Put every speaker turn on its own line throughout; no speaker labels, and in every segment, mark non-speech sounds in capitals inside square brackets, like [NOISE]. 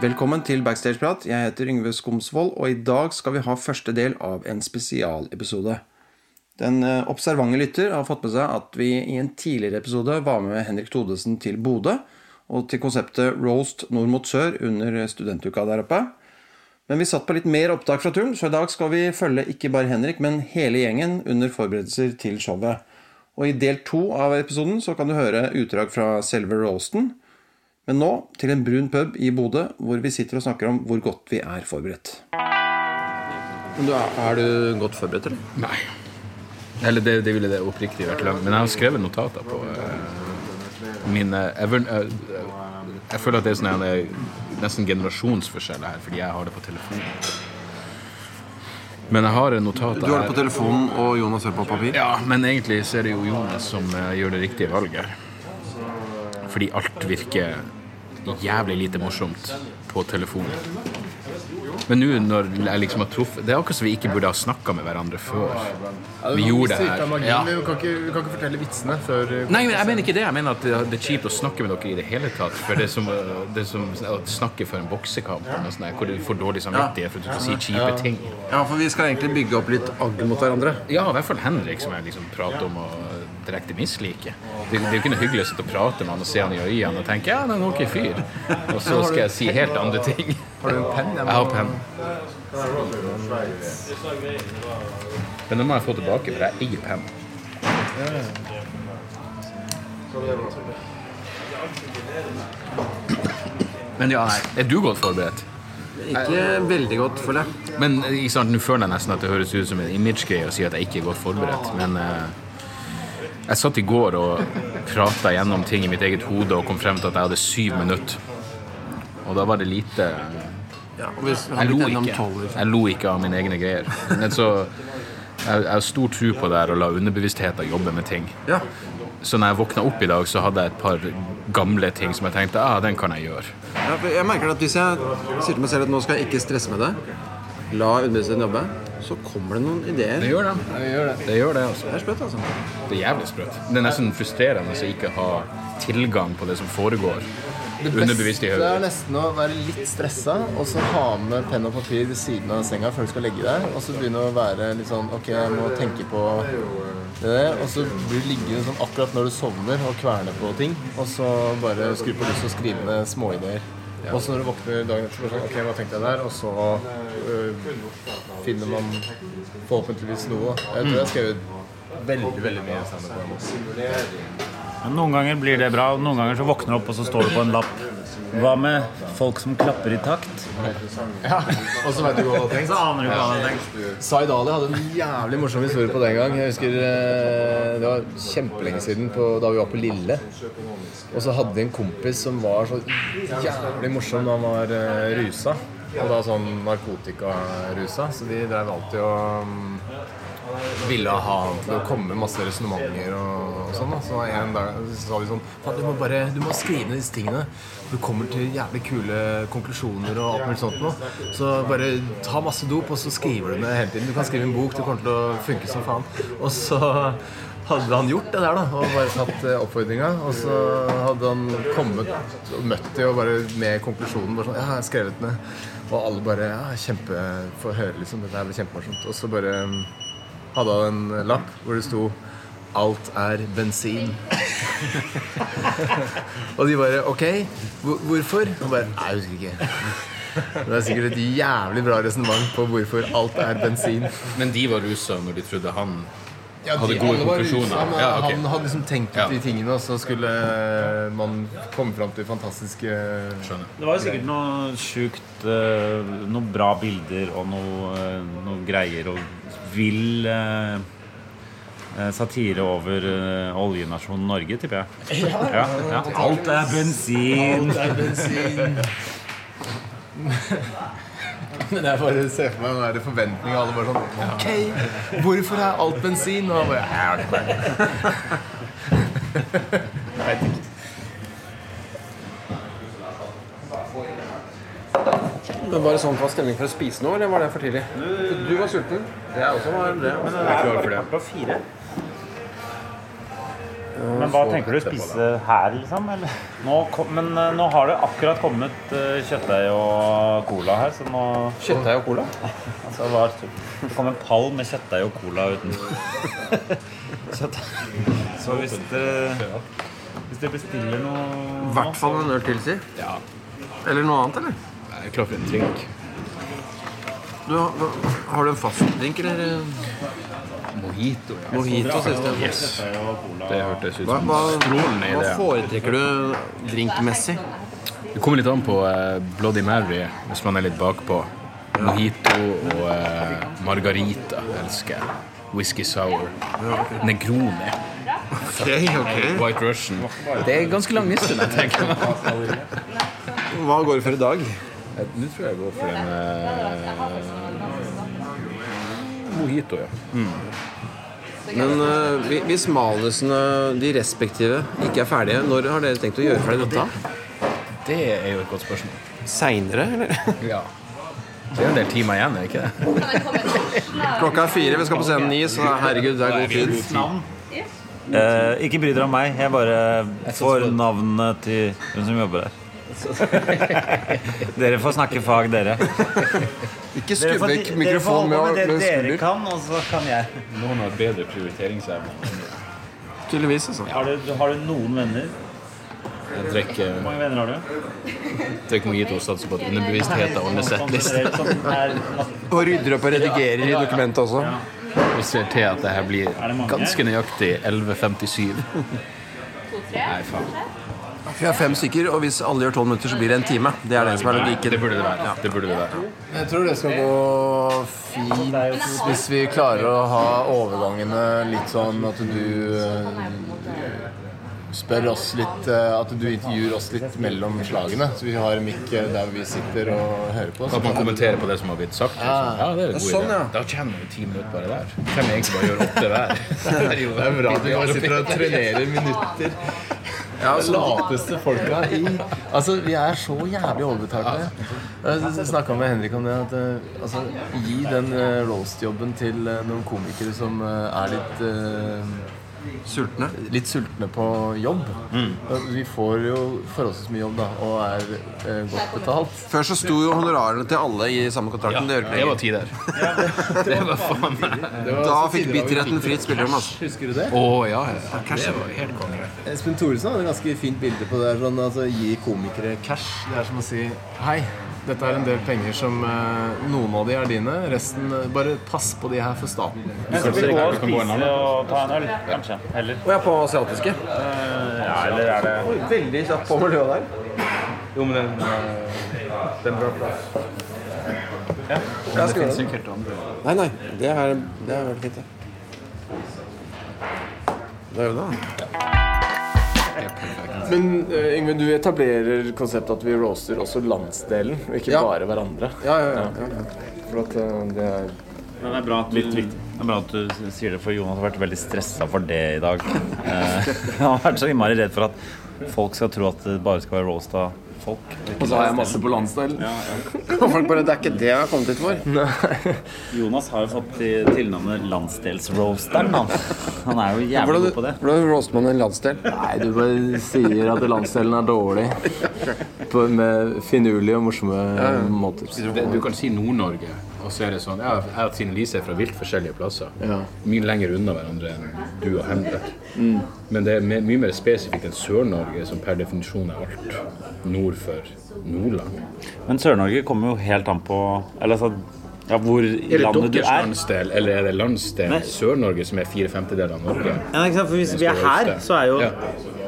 Velkommen til Backstageprat. Jeg heter Yngve Skomsvold, og i dag skal vi ha første del av en spesialepisode. Den eh, observante lytter har fått med seg at vi i en tidligere episode var med Henrik Thodesen til Bodø, og til konseptet Roast nord mot sør under studentuka der oppe. Men vi satt på litt mer opptak fra turen, så i dag skal vi følge ikke bare Henrik, men hele gjengen under forberedelser til showet. Og i del to av episoden så kan du høre utdrag fra selve roasten. Men nå til en brun pub i Bodø, hvor vi sitter og snakker om hvor godt vi er forberedt.
Er du godt forberedt, eller?
Nei. Eller det, det ville det oppriktig vært langt. Men jeg har skrevet notater på eh, mine jeg, vil- eh, jeg føler at det er sånn en, eh, nesten generasjonsforskjell her, fordi jeg har det på telefonen. Men jeg har notater her.
telefonen, og Jonas hører på papir?
Ja, men egentlig så er det jo Jonas som eh, gjør det riktige valget her. Fordi alt virker jævlig lite morsomt på telefonen. Men nå når jeg liksom har truffet Det er akkurat som vi ikke burde ha snakka med hverandre før. Vi gjorde det her. Ja.
Vi kan ikke, vi kan ikke fortelle vitsene før eh,
Nei, men jeg mener ikke det. Jeg mener at det det er kjipt å snakke med dere i det hele tatt. For det er som, eh, det er som å snakke for en boksekamp eller noe sånt, der, hvor du får dårlig samvittighet for at du skal si kjipe ting.
Ja, for vi skal egentlig bygge opp litt agg mot hverandre.
Ja, i hvert fall Henrik, som jeg liksom prater om og direkte misliker. Det, det er jo ikke noe hyggelig å sitte og prate med han og se han i øynene og tenke ja, det er en ok fyr. Og så skal jeg si helt andre ting. Har du en penn? Jeg har penn. Men den må jeg få tilbake, for jeg eier penn. Men ja, nei. Er du godt forberedt?
Ikke veldig godt, føler jeg.
Men eh, ikke sant, nå føler jeg nesten at det høres ut som en image-greie å si at jeg ikke er godt forberedt, men eh, jeg satt i går og prata gjennom ting i mitt eget hode og kom frem til at jeg hadde syv minutter. Og da var det lite
Ja, og hvis,
Jeg lo ikke. Jeg lo ikke av mine egne greier. Men så jeg, jeg har stor tro på det her å la underbevisstheten jobbe med ting.
Ja.
Så når jeg våkna opp i dag, så hadde jeg et par gamle ting som jeg tenkte ah, den kan jeg gjøre.
Ja, for jeg merker at hvis jeg sier til meg selv at nå skal jeg ikke stresse med det, la underbevisstheten jobbe, så kommer det noen ideer.
Det gjør det. Det gjør det, altså.
Det er sprøtt, altså.
Det er jævlig sprøtt. Det er nesten frustrerende å ikke ha tilgang på det som foregår underbevisst i
Det er
hodet.
nesten å være litt stressa og så ha med penn og papir ved siden av senga før du skal legge deg, og så begynne å være litt sånn Ok, jeg må tenke på det der. Og så blir du liggende sånn akkurat når du sovner og kverne på ting, og så bare skru på lyset og skrive ned småideer. Og så når du våkner dagen etter, så bare sånn Ok, hva tenkte jeg der? Og så øh, finner man forhåpentligvis noe. Jeg tror jeg har skrevet veldig, veldig mye standup om oss.
Men Noen ganger blir det bra, og noen ganger så våkner du opp, og så står det på en lapp. Hva med folk som klapper i takt?
Og så vet du hva du har tenkt.
Så aner du ikke hva han har tenkt.
Zaid Ali hadde en jævlig morsom historie på den gang. Jeg husker eh, Det var kjempelenge siden på, da vi var på Lille. Og så hadde de en kompis som var så jævlig morsom da han var eh, rusa. Og da sånn narkotikarusa. Så de drev alltid og mm, ville ha han til å komme med masse resonnementer og, og sånn. Da. Så en dag så sa de sånn Faen, du må bare du må skrive ned disse tingene. Du kommer til jævlig kule konklusjoner og alt mulig sånt noe. Så bare ta masse dop, og så skriver du ned hele tiden. Du kan skrive en bok. Det kommer til å funke som faen. Og så hadde han gjort det der, da, og bare tatt eh, oppfordringa. Og så hadde han kommet og møtt de og bare med konklusjonen bare sånn Ja, jeg har skrevet ned. Og alle bare Ja, kjempe Få høre, liksom. Dette her blir kjempemorsomt. Og så bare mm, hadde han en lapp hvor det sto 'Alt er bensin'. [LAUGHS] og de bare 'Ok, hvor- hvorfor?' Og bare 'Nei, jeg husker ikke'. Men Det er sikkert et jævlig bra resonnement på hvorfor alt er bensin.
Men de var rusa når de trodde han
Ja,
Hadde
de-
gode
alle var
konklusjoner.
rusa, men
Ja, ok.
Han hadde liksom tenkt ut
Ja.
de tingene, og så skulle man komme fram til fantastiske
Skjønner.
skjønner.
Det var jo sikkert noe sjukt eh, Noen bra bilder og noe, eh, noe greier og vill eh, eh, satire over eh, oljenasjonen Norge, tipper jeg. Ja, ja. Alt er bensin!
Men jeg bare ser for meg den der forventningen. Alle bare sånn Ok, hvorfor er alt bensin? Og han bare Jeg har ikke peiling. Jeg vet ikke.
Men var det sånn fast stemning for å spise nå, eller var det for tidlig? Du var sulten. Jeg også var det. Men
Jeg er klar for det.
Klokka fire. Men hva tenker du å spise her, liksom? Eller? Nå kom, men eh, nå har det akkurat kommet eh, kjøttdeig og cola her, så nå
Kjøttdeig og cola?
[LAUGHS] altså, det var- Det kom en pall med kjøttdeig og cola uten [LAUGHS] kjøttdeig. Så hvis dere, hvis dere bestiller noe
I hvert fall en øl til, si.
Ja.
Eller noe annet, eller?
Jeg er klar for en drink.
Du, har- hva- har du en fastdrink, eller?
Mojito, ja.
Mojito, siste.
Yes.
Kjøttdeig og cola.
Det hørtes ut
Hva,
som
hva,
strålende
hva
idé.
foretrekker du drinkmessig?
Det kommer litt an på eh, Bloody Mary, hvis man er litt bakpå. Mojito og eh, margarita elsker jeg. Whisky sour. Negroni.
Ok, ok.
White Russian. Det er ganske lang liste, men jeg tenker meg.
Hva går det for i dag?
Eh, Nå tror jeg jeg går for en mojito, ja.
Men eh, hvi- hvis manusene, de respektive, ikke er ferdige, når har dere tenkt å gjøre ferdig dette?
Det er jo et godt spørsmål.
Seinere, eller?
Ja. Det er en del timer igjen, er det ikke det?
Klokka er fire, vi skal på scenen ni, så herregud, det er god tid.
Eh, ikke bry dere om meg. Jeg bare får navnene til hun som
[LAUGHS]
jobber der. dere får snakke fag, dere.
Ikke
Dere
skubbe
får, dere får
mikrofonen
holde på
med,
med det
med
dere
skulder.
kan, og så kan jeg.
Noen har bedre prioriteringsevne.
Tydeligvis, altså.
Har du, har du noen venner?
Jeg drikker,
Hvor mange venner har du?
drikker mojito og satser på at underbevisstheten ordner seg
Sånn
litt.
generelt, sånn er,
Og rydder opp og redigerer i dokumentet også.
Vi ser til at det her blir
mange?
ganske nøyaktig 11.57. Nei, faen.
Vi er fem stykker, og hvis alle gjør tolv minutter, så blir det en time. Det er det som er
Det
logikken.
burde det være. Det burde det være.
Jeg tror det skal gå fint hvis vi klarer å ha overgangene litt sånn at du eh, spør oss litt eh, At du intervjuer oss litt mellom slagene. Så vi har en mikk eh, der vi sitter og hører på.
At man kommenterer på det som har blitt sagt.
Ah.
liksom. Ja, det er en god
Sånn,
idé.
ja.
Da tjener vi ti minutter bare der. Kan vi egentlig bare gjøre åtte hver? Det er jo
Det er bra at vi bare sitter og trenerer minutter. Det lateste folka i Altså, vi er så jævlig overbetalte. Jeg snakka med Henrik om det. At, eh, altså, gi den eh, roast-jobben til eh, noen komikere som eh, er litt eh,
Sultne. Mm.
Litt sultne på jobb. Eh, Vi får jo forholdsvis mye jobb, da, og er eh, godt betalt.
Før så sto jo honorarene til alle i samme kontrakten. Det gjør ikke
Det var
lenger.
tider. Det var faen meg
Da fikk bitterheten fritt spillerom. altså.
Husker du det?
Å ja, ja. Det var helt konge.
Espen Thoresen hadde et ganske fint bilde på det. her, Sånn, altså, gi komikere cash. Det er som å si Hei, dette er en del penger som eh, Noen av de er dine, resten eh, Bare pass på de her for staten.
skal vi gå og
Du kan gå en annen.
spise og ta en øl, kanskje? Heller.
Og jeg er på asiatiske.
Ja, eller er det
Veldig kjapt på miljøet der.
Jo, men den, den bra plass.
Jeg skal gjøre det.
sikkert andre.
Nei, nei. Det er, det er veldig fint, det. Det er jo det. da.
Men Ingvild, du etablerer konseptet at vi roaster også landsdelen, og ikke bare hverandre.
Ja, ja, ja. ja.
For at det er
Men det er bra at du, det er bra at du s- sier det, for Jonas har vært veldig stressa for det i [LAUGHS] dag. Eh, han har vært så innmari redd for at folk skal tro at det bare skal være roast av folk.
Og så har jeg masse på landsdelen.
[LAUGHS] Og folk bare Det er ikke det jeg har kommet hit for.
Jonas har jo fått til- tilnavnet landsdelsroasteren, han. [LAUGHS] Han er jo jævlig god på det.
Hvordan roaster man en landsdel?
Nei, du bare sier at landsdelen er dårlig. På, med finurlige og morsomme måter.
Du kan si Nord-Norge, og så er det sånn Jeg jeg og Trine Lise er fra vilt forskjellige plasser.
Ja.
Mye lenger unna hverandre enn du og Henrik. Men det er me- mye mer spesifikt enn Sør-Norge, som per definisjon er alt nord for Nordland.
Men Sør-Norge kommer jo helt an på Eller altså ja, hvor i
Er det
landet du
deres
er.
landsdel, eller er det landsdel
Nei.
Sør-Norge som er fire femtedeler av Norge?
Ja, ikke sant? For hvis vi er her, så er jo
Ja.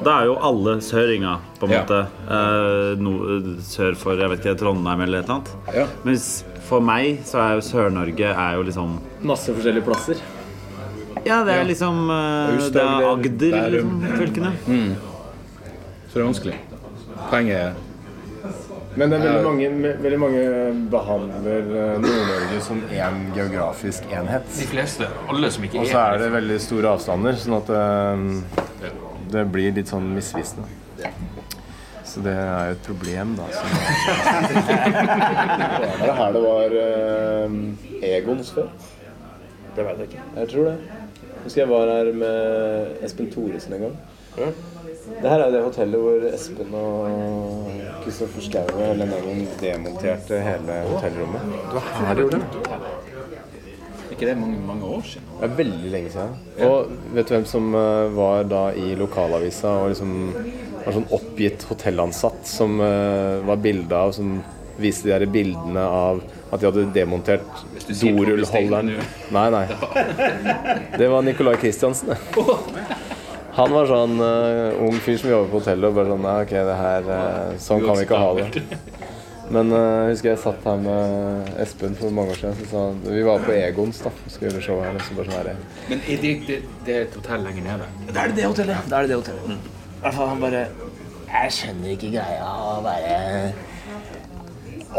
Da er jo alle søringer, på en
Ja.
måte. eh, no- sør for jeg vet ikke, Trondheim eller et eller annet.
Ja.
Men hvis- for meg så er jo Sør-Norge er jo liksom
Masse forskjellige plasser.
Ja, det er liksom eh,
Aust-Agder,
Det er Agder,
Bærum.
liksom, fylkene.
Så det er vanskelig. Poenget er
Men det er veldig mange, me- veldig mange behandler eh, Nord-Norge som én geografisk enhet.
De fleste. Alle som ikke
Og så er det veldig store avstander, sånn at eh, det blir litt sånn misvisende. Så det er jo et problem, da. [LAUGHS] Var det her det var eh, Egons før? Det veit jeg ikke. Jeg tror det. Husker jeg var her med Espen Thoresen en gang.
Det her er jo det hotellet hvor Espen og Kristoffer Schou og Ellen Ellen demonterte hele hotellrommet. Det var her de gjorde det?
ikke det mange, mange år siden?
Det er veldig lenge siden. Og vet du hvem som eh, var da i lokalavisa og liksom var sånn oppgitt hotellansatt som eh, var bilda av som viste de der bildene av at de hadde demontert
sier
dorullholderen
Torbjørn
Nei, nei.
[LAUGHS]
Det var Nicolai Kristiansen. det. Han var sånn eh, ung fyr som jobber på hotellet og bare sånn Nei, ok, det her eh, Sånn kan vi ikke ha det. Men eh, jeg husker jeg satt her med Espen for mange år siden. Så sa han, vi var på Egons da, og skulle gjøre show her. Og så bare sånn her,
Men er det, det, det er et hotell lenger nede.
Da er det det hotellet. Da er det det hotellet. I hvert fall han bare Jeg skjønner ikke greia å være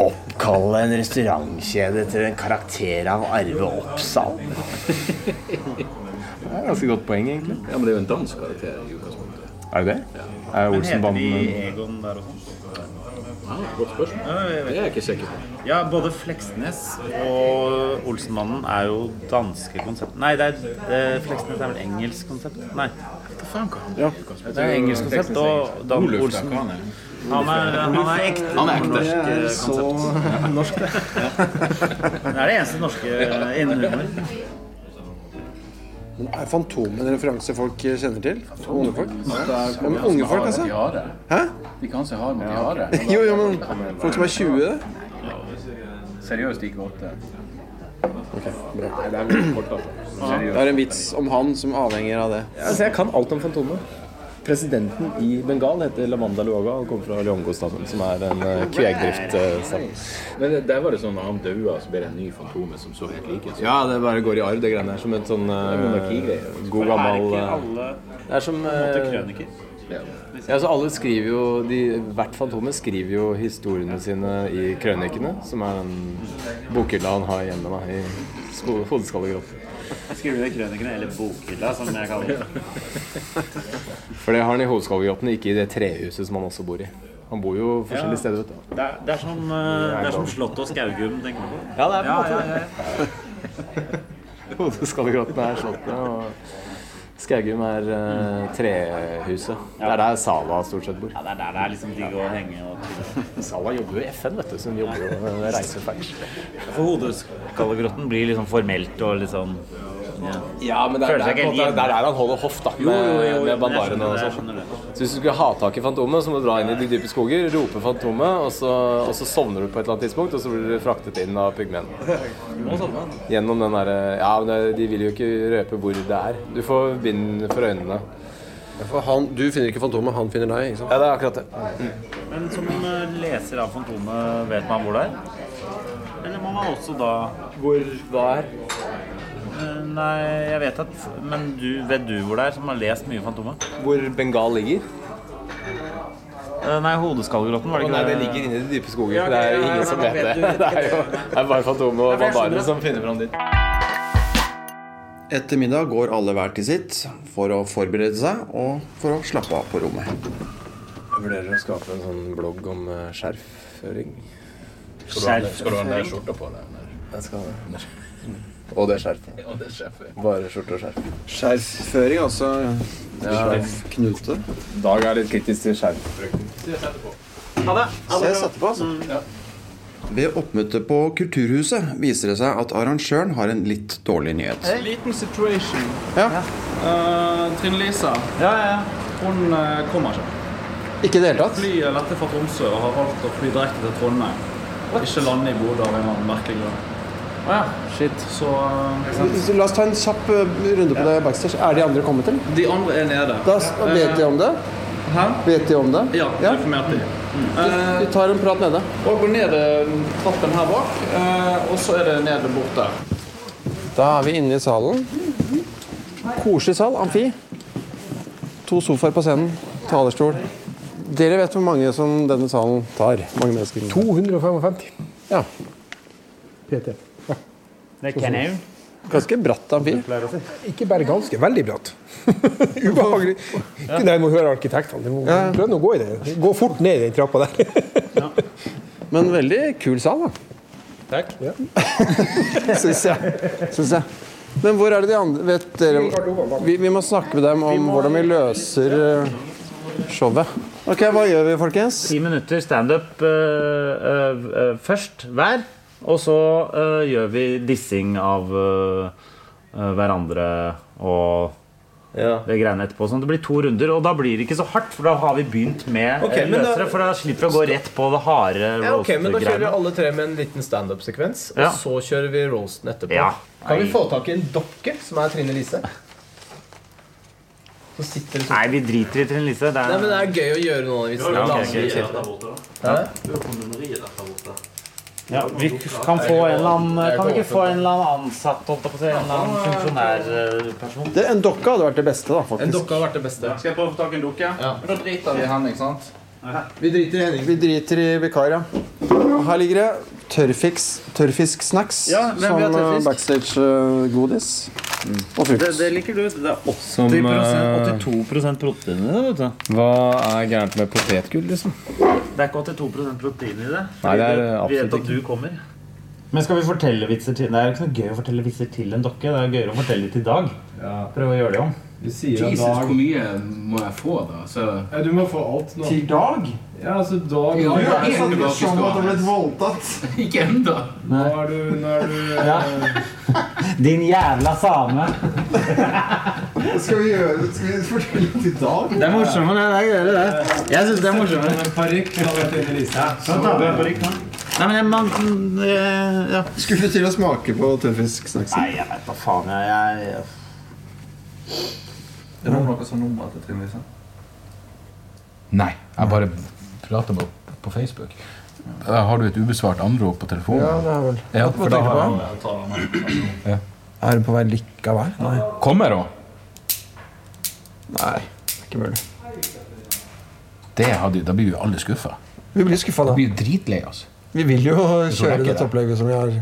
Oppkalle en restaurantkjede etter en karakter av Arve Oppsal.
Det er et ganske godt poeng, egentlig.
Ja, men det er jo en dansk karakter i utgangspunktet.
Er det det? Er
Heter de
Olsenbanden
Egon der og sånn?
Ja, godt spørsmål.
Ja, jeg
Det
vet.
er jeg ikke sikker på.
Ja, både Fleksnes og Olsenmannen er jo danske konsept. Nei, det er, eh, Fleksnes er vel engelsk konsept? Nei,
Hva faen kan han i utgangspunktet?
det er engelsk konsept og Dan
Oluf, da,
Olsen.
hva han er.
Han er, han er ekte.
Han er ekte.
norsk, eh, konsept.
norsk, det.
Det er det eneste norske eh, innen [LAUGHS] humor.
Er Fantomet en referanse folk eh, kjenner til? Unge folk? Ja, men unge folk, altså?
Tiare.
Hæ?
De kan se har med tiare.
Jo, jo, men folk som er 20?
Seriøst, ikke åtte.
Det er en vits om han som avhenger av det.
Altså, jeg kan alt om Fantomet. Presidenten i Bengal heter Lavanda Luoga og kommer fra Liongo-stammen, som er en eh, kvegdriftsstam.
Men det- der var det sånn når han daua, så ble det en ny Fantomet som så helt lik ut.
Ja, det bare går i arv, det greiene her. Som en sånn
monarkigreie.
god
Er
gammel
ikke
eh,
alle
Det er som eh,
krøniker?
Ja, så alle skriver jo de, Hvert Fantomet skriver jo historiene sine i krønikene, som er den bokhylla han har hjemme da, i sko- hodeskallegrotten.
Skriver det krønikene, eller Bokhylla, som jeg kaller det.
For det har han i Hodeskallegrotten, ikke i det trehuset som han også bor i. Han bor jo forskjellige
Ja.
steder, vet du.
[LAUGHS] Det er, det er som, eh, det er som Slott og Skaugum, tenker du på?
Ja, det er på en
Ja,
måte
ja,
det.
ja.
Hodeskallegrotten er slottet, og Skaugum er eh, trehuset. Det er der Sala stort sett bor.
Ja, det er der det er liksom digg å henge og
Sala jobber jo i FN, vet du, så hun jobber jo med reiser feil.
For hodeskallegrotten blir liksom formelt og litt sånn
Ja, men det
Føler
er
seg
der, på en
ikke
måte-
helt
det er der han holder hoff, da, med, med bandarene og sånn. Så hvis du skulle ha tak i Fantomet, så må du dra inn i de dype skoger, rope Fantomet, og så, og så sovner du på et eller annet tidspunkt, og så blir du fraktet inn av pygmenene. Gjennom den derre Ja, men det- de vil jo ikke røpe hvor det er. Du får bind for øynene.
For han, du finner ikke Fantomet, han finner deg. ikke sant?
Ja, det er akkurat det.
Men som eh, leser av Fantomet, vet man hvor det er? Eller må man også da
Hvor hva er?
Eh, Nei, jeg vet at Men du, vet du hvor det er, som har lest mye Fantomet?
Hvor Bengal ligger?
Eh, Nei, hodeskallegrotten, var
Å
det
nei,
ikke
det ligger inne i de dype skoger, for det er jo ingen som vet det. [LAUGHS] Det er jo det er bare Fantomet og Bandarene som finner fram dit.
Etter middag går alle hver til sitt for å forberede seg og for å slappe av på rommet.
Jeg vurderer å skape en sånn blogg om skjerfføring.
Skjerf.
Skal du ha den der skjorta på deg?
Jeg skal det. Og det skjerfet.
Ja, det er sjef.
Bare skjorte og skjerf.
Skjerfføring, altså. Knute.
Dag er litt kritisk til skjermbruk.
Ses etterpå, altså. Ved oppmøtet på Kulturhuset viser det seg at arrangøren har en litt dårlig nyhet.
En liten situation. Eh,
Ja.
Trine Lisa, hun eh, kommer ikke.
Ikke i det hele tatt?
Flyet lette fra Tromsø og har valgt å fly direkte til Trondheim. Ikke lande i Bodø av en eller annen merkelig grunn. Å ja. Shit. Så eh,
La oss ta en kjapp eh, runde på det backstage. Er de andre kommet, eller?
de andre er nede.
Da vet de om det.
Hæ?
Vet de om det?
Ja,
Ja.
informerte de.
Vi tar en prat nede.
Eh, Og gå ned eh, trappen her bak, eh, og så er det ned bort der.
Da er vi inne i salen. Koselig sal. Amfi. To sofaer på scenen. Talerstol. Dere vet hvor mange som denne salen tar? Mange mennesker.
255
Ja.
PT.
Det er Kenau.
Ganske bratt amfi.
Ikke bare ganske, veldig bratt. Ubehagelig. Nei, jeg må høre arkitektene. Du må
Ja.
prøve å gå i det. Gå fort ned i den trappa der.
Men [LAUGHS] veldig kul sal, da.
Ja.
Syns jeg. Syns jeg. Men hvor er det de andre Vet dere Vi, vi må snakke med dem om hvordan vi løser eh, showet. Ok, hva gjør vi, folkens?
Ti minutter standup uh, først hver. Og så eh, gjør vi dissing av eh, eh, hverandre og det greiene etterpå. Sånn at det blir to runder, og da blir det ikke så hardt. For da har vi begynt med
Ok,
eh,
men da-
løsere, for da slipper vi å gå rett på det harde
Ja, ok, men Da kjører vi
roast-greiene.
alle tre med en liten standup-sekvens. Og
Ja.
så kjører vi roasten etterpå.
Ja.
Kan vi få tak i en dokke som er Trine Lise? Så sitter det sånn
Nei, vi driter i Trine Lise. Det
Nei, men
er,
Det er gøy å gjøre noen av de vitsene.
ok,
Laser-
ok, ja, vi kan få en eller annen Kan vi ikke få en eller annen ansatt, holdt jeg på å si? En eller annen funksjonærperson?
Det, en dokke hadde vært det beste, da,
En
faktisk.
dokke har vært det beste.
Skal jeg prøve å få tak i en dukke? Ja. Men da driter vi i henne, ikke sant?
Vi driter i Henning.
Vi driter i vikar, ja. Og Her ligger det tørrfiks, tørrfisksnacks
Ja, hvem vil ha
som eh,
tørrfisk?
backstage eh, godis. Og frukt.
liker du. Det er 80
Som, eh,
82 protein i det, vet du.
Hva er gærent med potetgull, liksom?
Det er ikke 82 protein i det.
Nei, det er
Vi vet
absolutt
at
ikke.
du kommer. Men skal vi fortelle vitser til Det er jo ikke noe gøy å fortelle vitser til en dokke. Det er gøyere å fortelle dem til Dag. Prøve å gjøre det om.
Jesus, hvor mye må jeg få, da? Så,
Du må få alt nå.
Til dag?
Ja, altså, da
Ja, jeg er ikke tilbake i skolen.
voldtatt.
Ikke ennå.
Nå er du, nå er du
Din jævla same.
Skal vi gjøre det? Skal vi fortelle til dag?
Det er morsomt, det er gøy, det. Jeg syns det er morsomt.
Parykk.
Nei, men jeg, man, ja.
Skulle til å smake på tørrfisksnacksen.
Nei, jeg vet da faen. Jeg, jeg, jeg.
Det var noe sånn nummer til Trine Lise.
Nei, jeg bare prater med henne på Facebook. Da har du et ubesvart anrop på telefonen.
det er vel
Ja, for da har jeg...
Er du på vei likevel? Nei.
Kommer hun?
Nei, ikke mulig.
Det hadde, da blir jo alle skuffa.
Vi blir skuffa da.
Blir jo dritlei oss.
Vi vil jo
tror
kjøre
jeg ikke
dette
det.
opplegget som vi har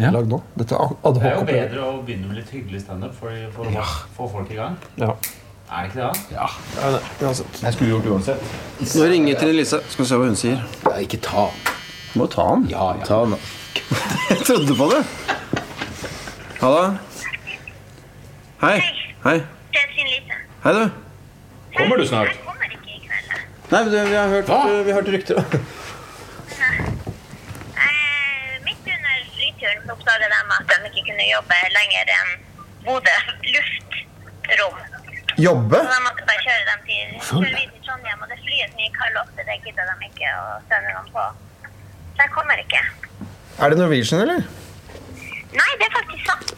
Ja.
lagd nå. Dette
Det er jo
adhoc-opplegget.
bedre å begynne med litt hyggelig standup for, for å få folk i gang.
Ja.
Er det ikke det?
Ja,
Ja, nei, uansett.
jeg skulle gjort det uansett.
Nå ringer Trine Lise. Skal vi se hva hun sier.
Nei, ikke ta.
Må ta den.
Ja, ja.
Ta den, da.
Jeg trodde på det. Halla. Hei. Hei.
Det er Trine Lise.
Hei, du.
Kommer du snart?
Jeg kommer ikke i kveld. da.
Nei, men du, vi har hørt,
Hva?
vi har hørt rykter.
Eh, Midt under flyturen så oppdaga de at de ikke kunne jobbe lenger enn Bodø luftrom.
Jobbe?
Så de måtte bare kjøre dem til kjøre videre til Trondheim. Og det flyet som gikk halv åtte, det gidda de ikke å sende dem på. Så jeg kommer ikke.
Er det Norwegian, eller?
Nei, det er faktisk sant.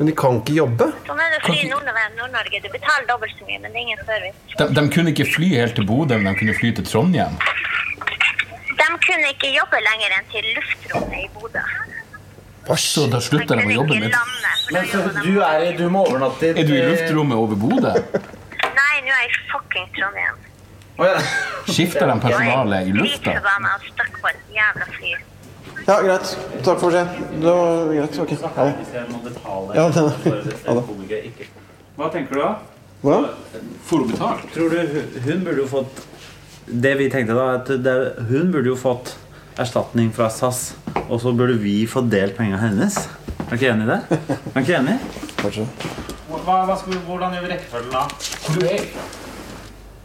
Men de kan ikke jobbe?
Sånn er det å fly i Nord-Norge. Nord du betaler dobbelt så mye, men det er ingen service.
De, de kunne ikke fly helt til Bodø, men de kunne fly til Trondheim.
De kunne ikke jobbe lenger enn til luftrommet i Bodø.
Så da
De
slutter de
kunne
å jobbe
ikke
med
lande. for da jobber de-
du må overnatte
Er du i luftrommet over Bodø?
Nei, nå er jeg i fucking Trondheim.
Skifter de personalet i lufta?
Flyforbanna og stakk på et jævla fly.
Ja, greit. Takk for seg. Det var greit. Ok. Ha det. Ja, det- ha det.
Hva tenker du, da?
Hva?
Får hun betalt?
Tror du hun- hun burde jo fått Det vi tenkte da, at det, hun burde jo fått erstatning fra SAS. Og så burde vi få delt pengene hennes. Er du ikke enig i det? Er du ikke enig?
Kanskje.
Hva, hva skal vi, hvordan gjør vi rekkefølgen da?
Du er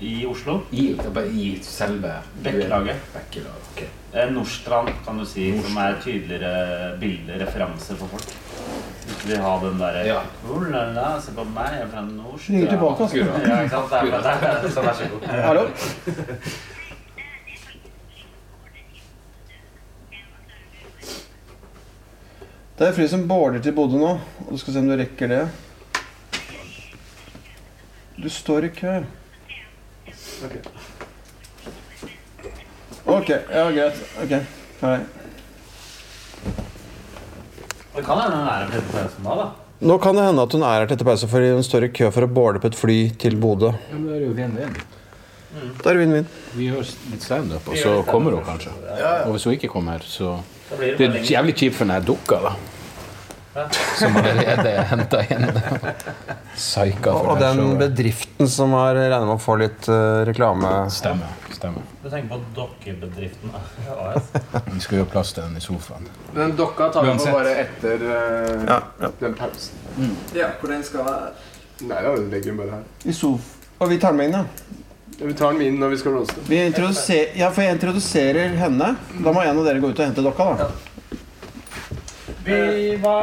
I Oslo?
i, i selve
Bekkelaget.
Bekkelaget, ok.
Eh, Nordstrand, kan du si, som er tydeligere bilder, referanser for folk. Ikke vil ha den derre
Ja.
oh, la, la, Se på meg, jeg er fra Nordstrand.
Ringer tilbake, altså.
Ja, ikke sant? Det er, det er, det er, så vær så god.
Hallo? Det er fly som border til Bodø nå, og du skal se om du rekker det. Du står i kø. Ok, ja greit. Ok, hei.
Det kan hende den er en Petter Klausen da, da.
Nå kan det hende at hun er her til etter pause fordi hun står i kø for å boarde på et fly til Bodø.
Ja, men det er jo vinn-vinn.
Da er det vinn-vinn.
Vi gjør litt standup, og så kommer hun kanskje. Og hvis hun ikke kommer, så
blir det
Det er jævlig kjipt for den her dukka, da. som allerede er henta inn. Psyka
Og,
for
og
det her
den
showet.
bedriften som har regnet med å få litt eh, reklame
Stemmer. stemmer.
Du tenker på dokkebedriften AS?
Vi skal gjøre plass til den i sofaen.
Den dokka tar vi på
Uansett.
bare etter eh,
Ja, ja.
den pausen.
Ja, hvor den skal
Nei, da legger den bare her.
I sof... Og vi tar med inn, da.
Vi tar den med inn når vi skal blåse.
Vi introduser, ja, for jeg introduserer henne. Da må en av dere gå ut og hente dokka, da.
Vi, hva,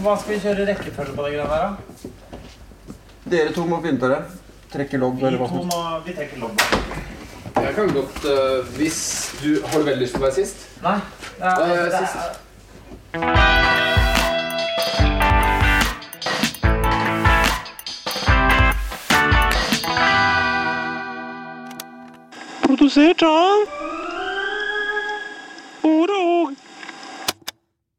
hva skal vi kjøre rekkefølge på de greiene her, da?
Dere to må begynne dere. Trekke lodd eller hva som helst.
vi trekker lodd.
Jeg kan godt eh, Hvis du Har du veldig lyst til å være sist?
Nei.
Da er jeg sist.
Produsert av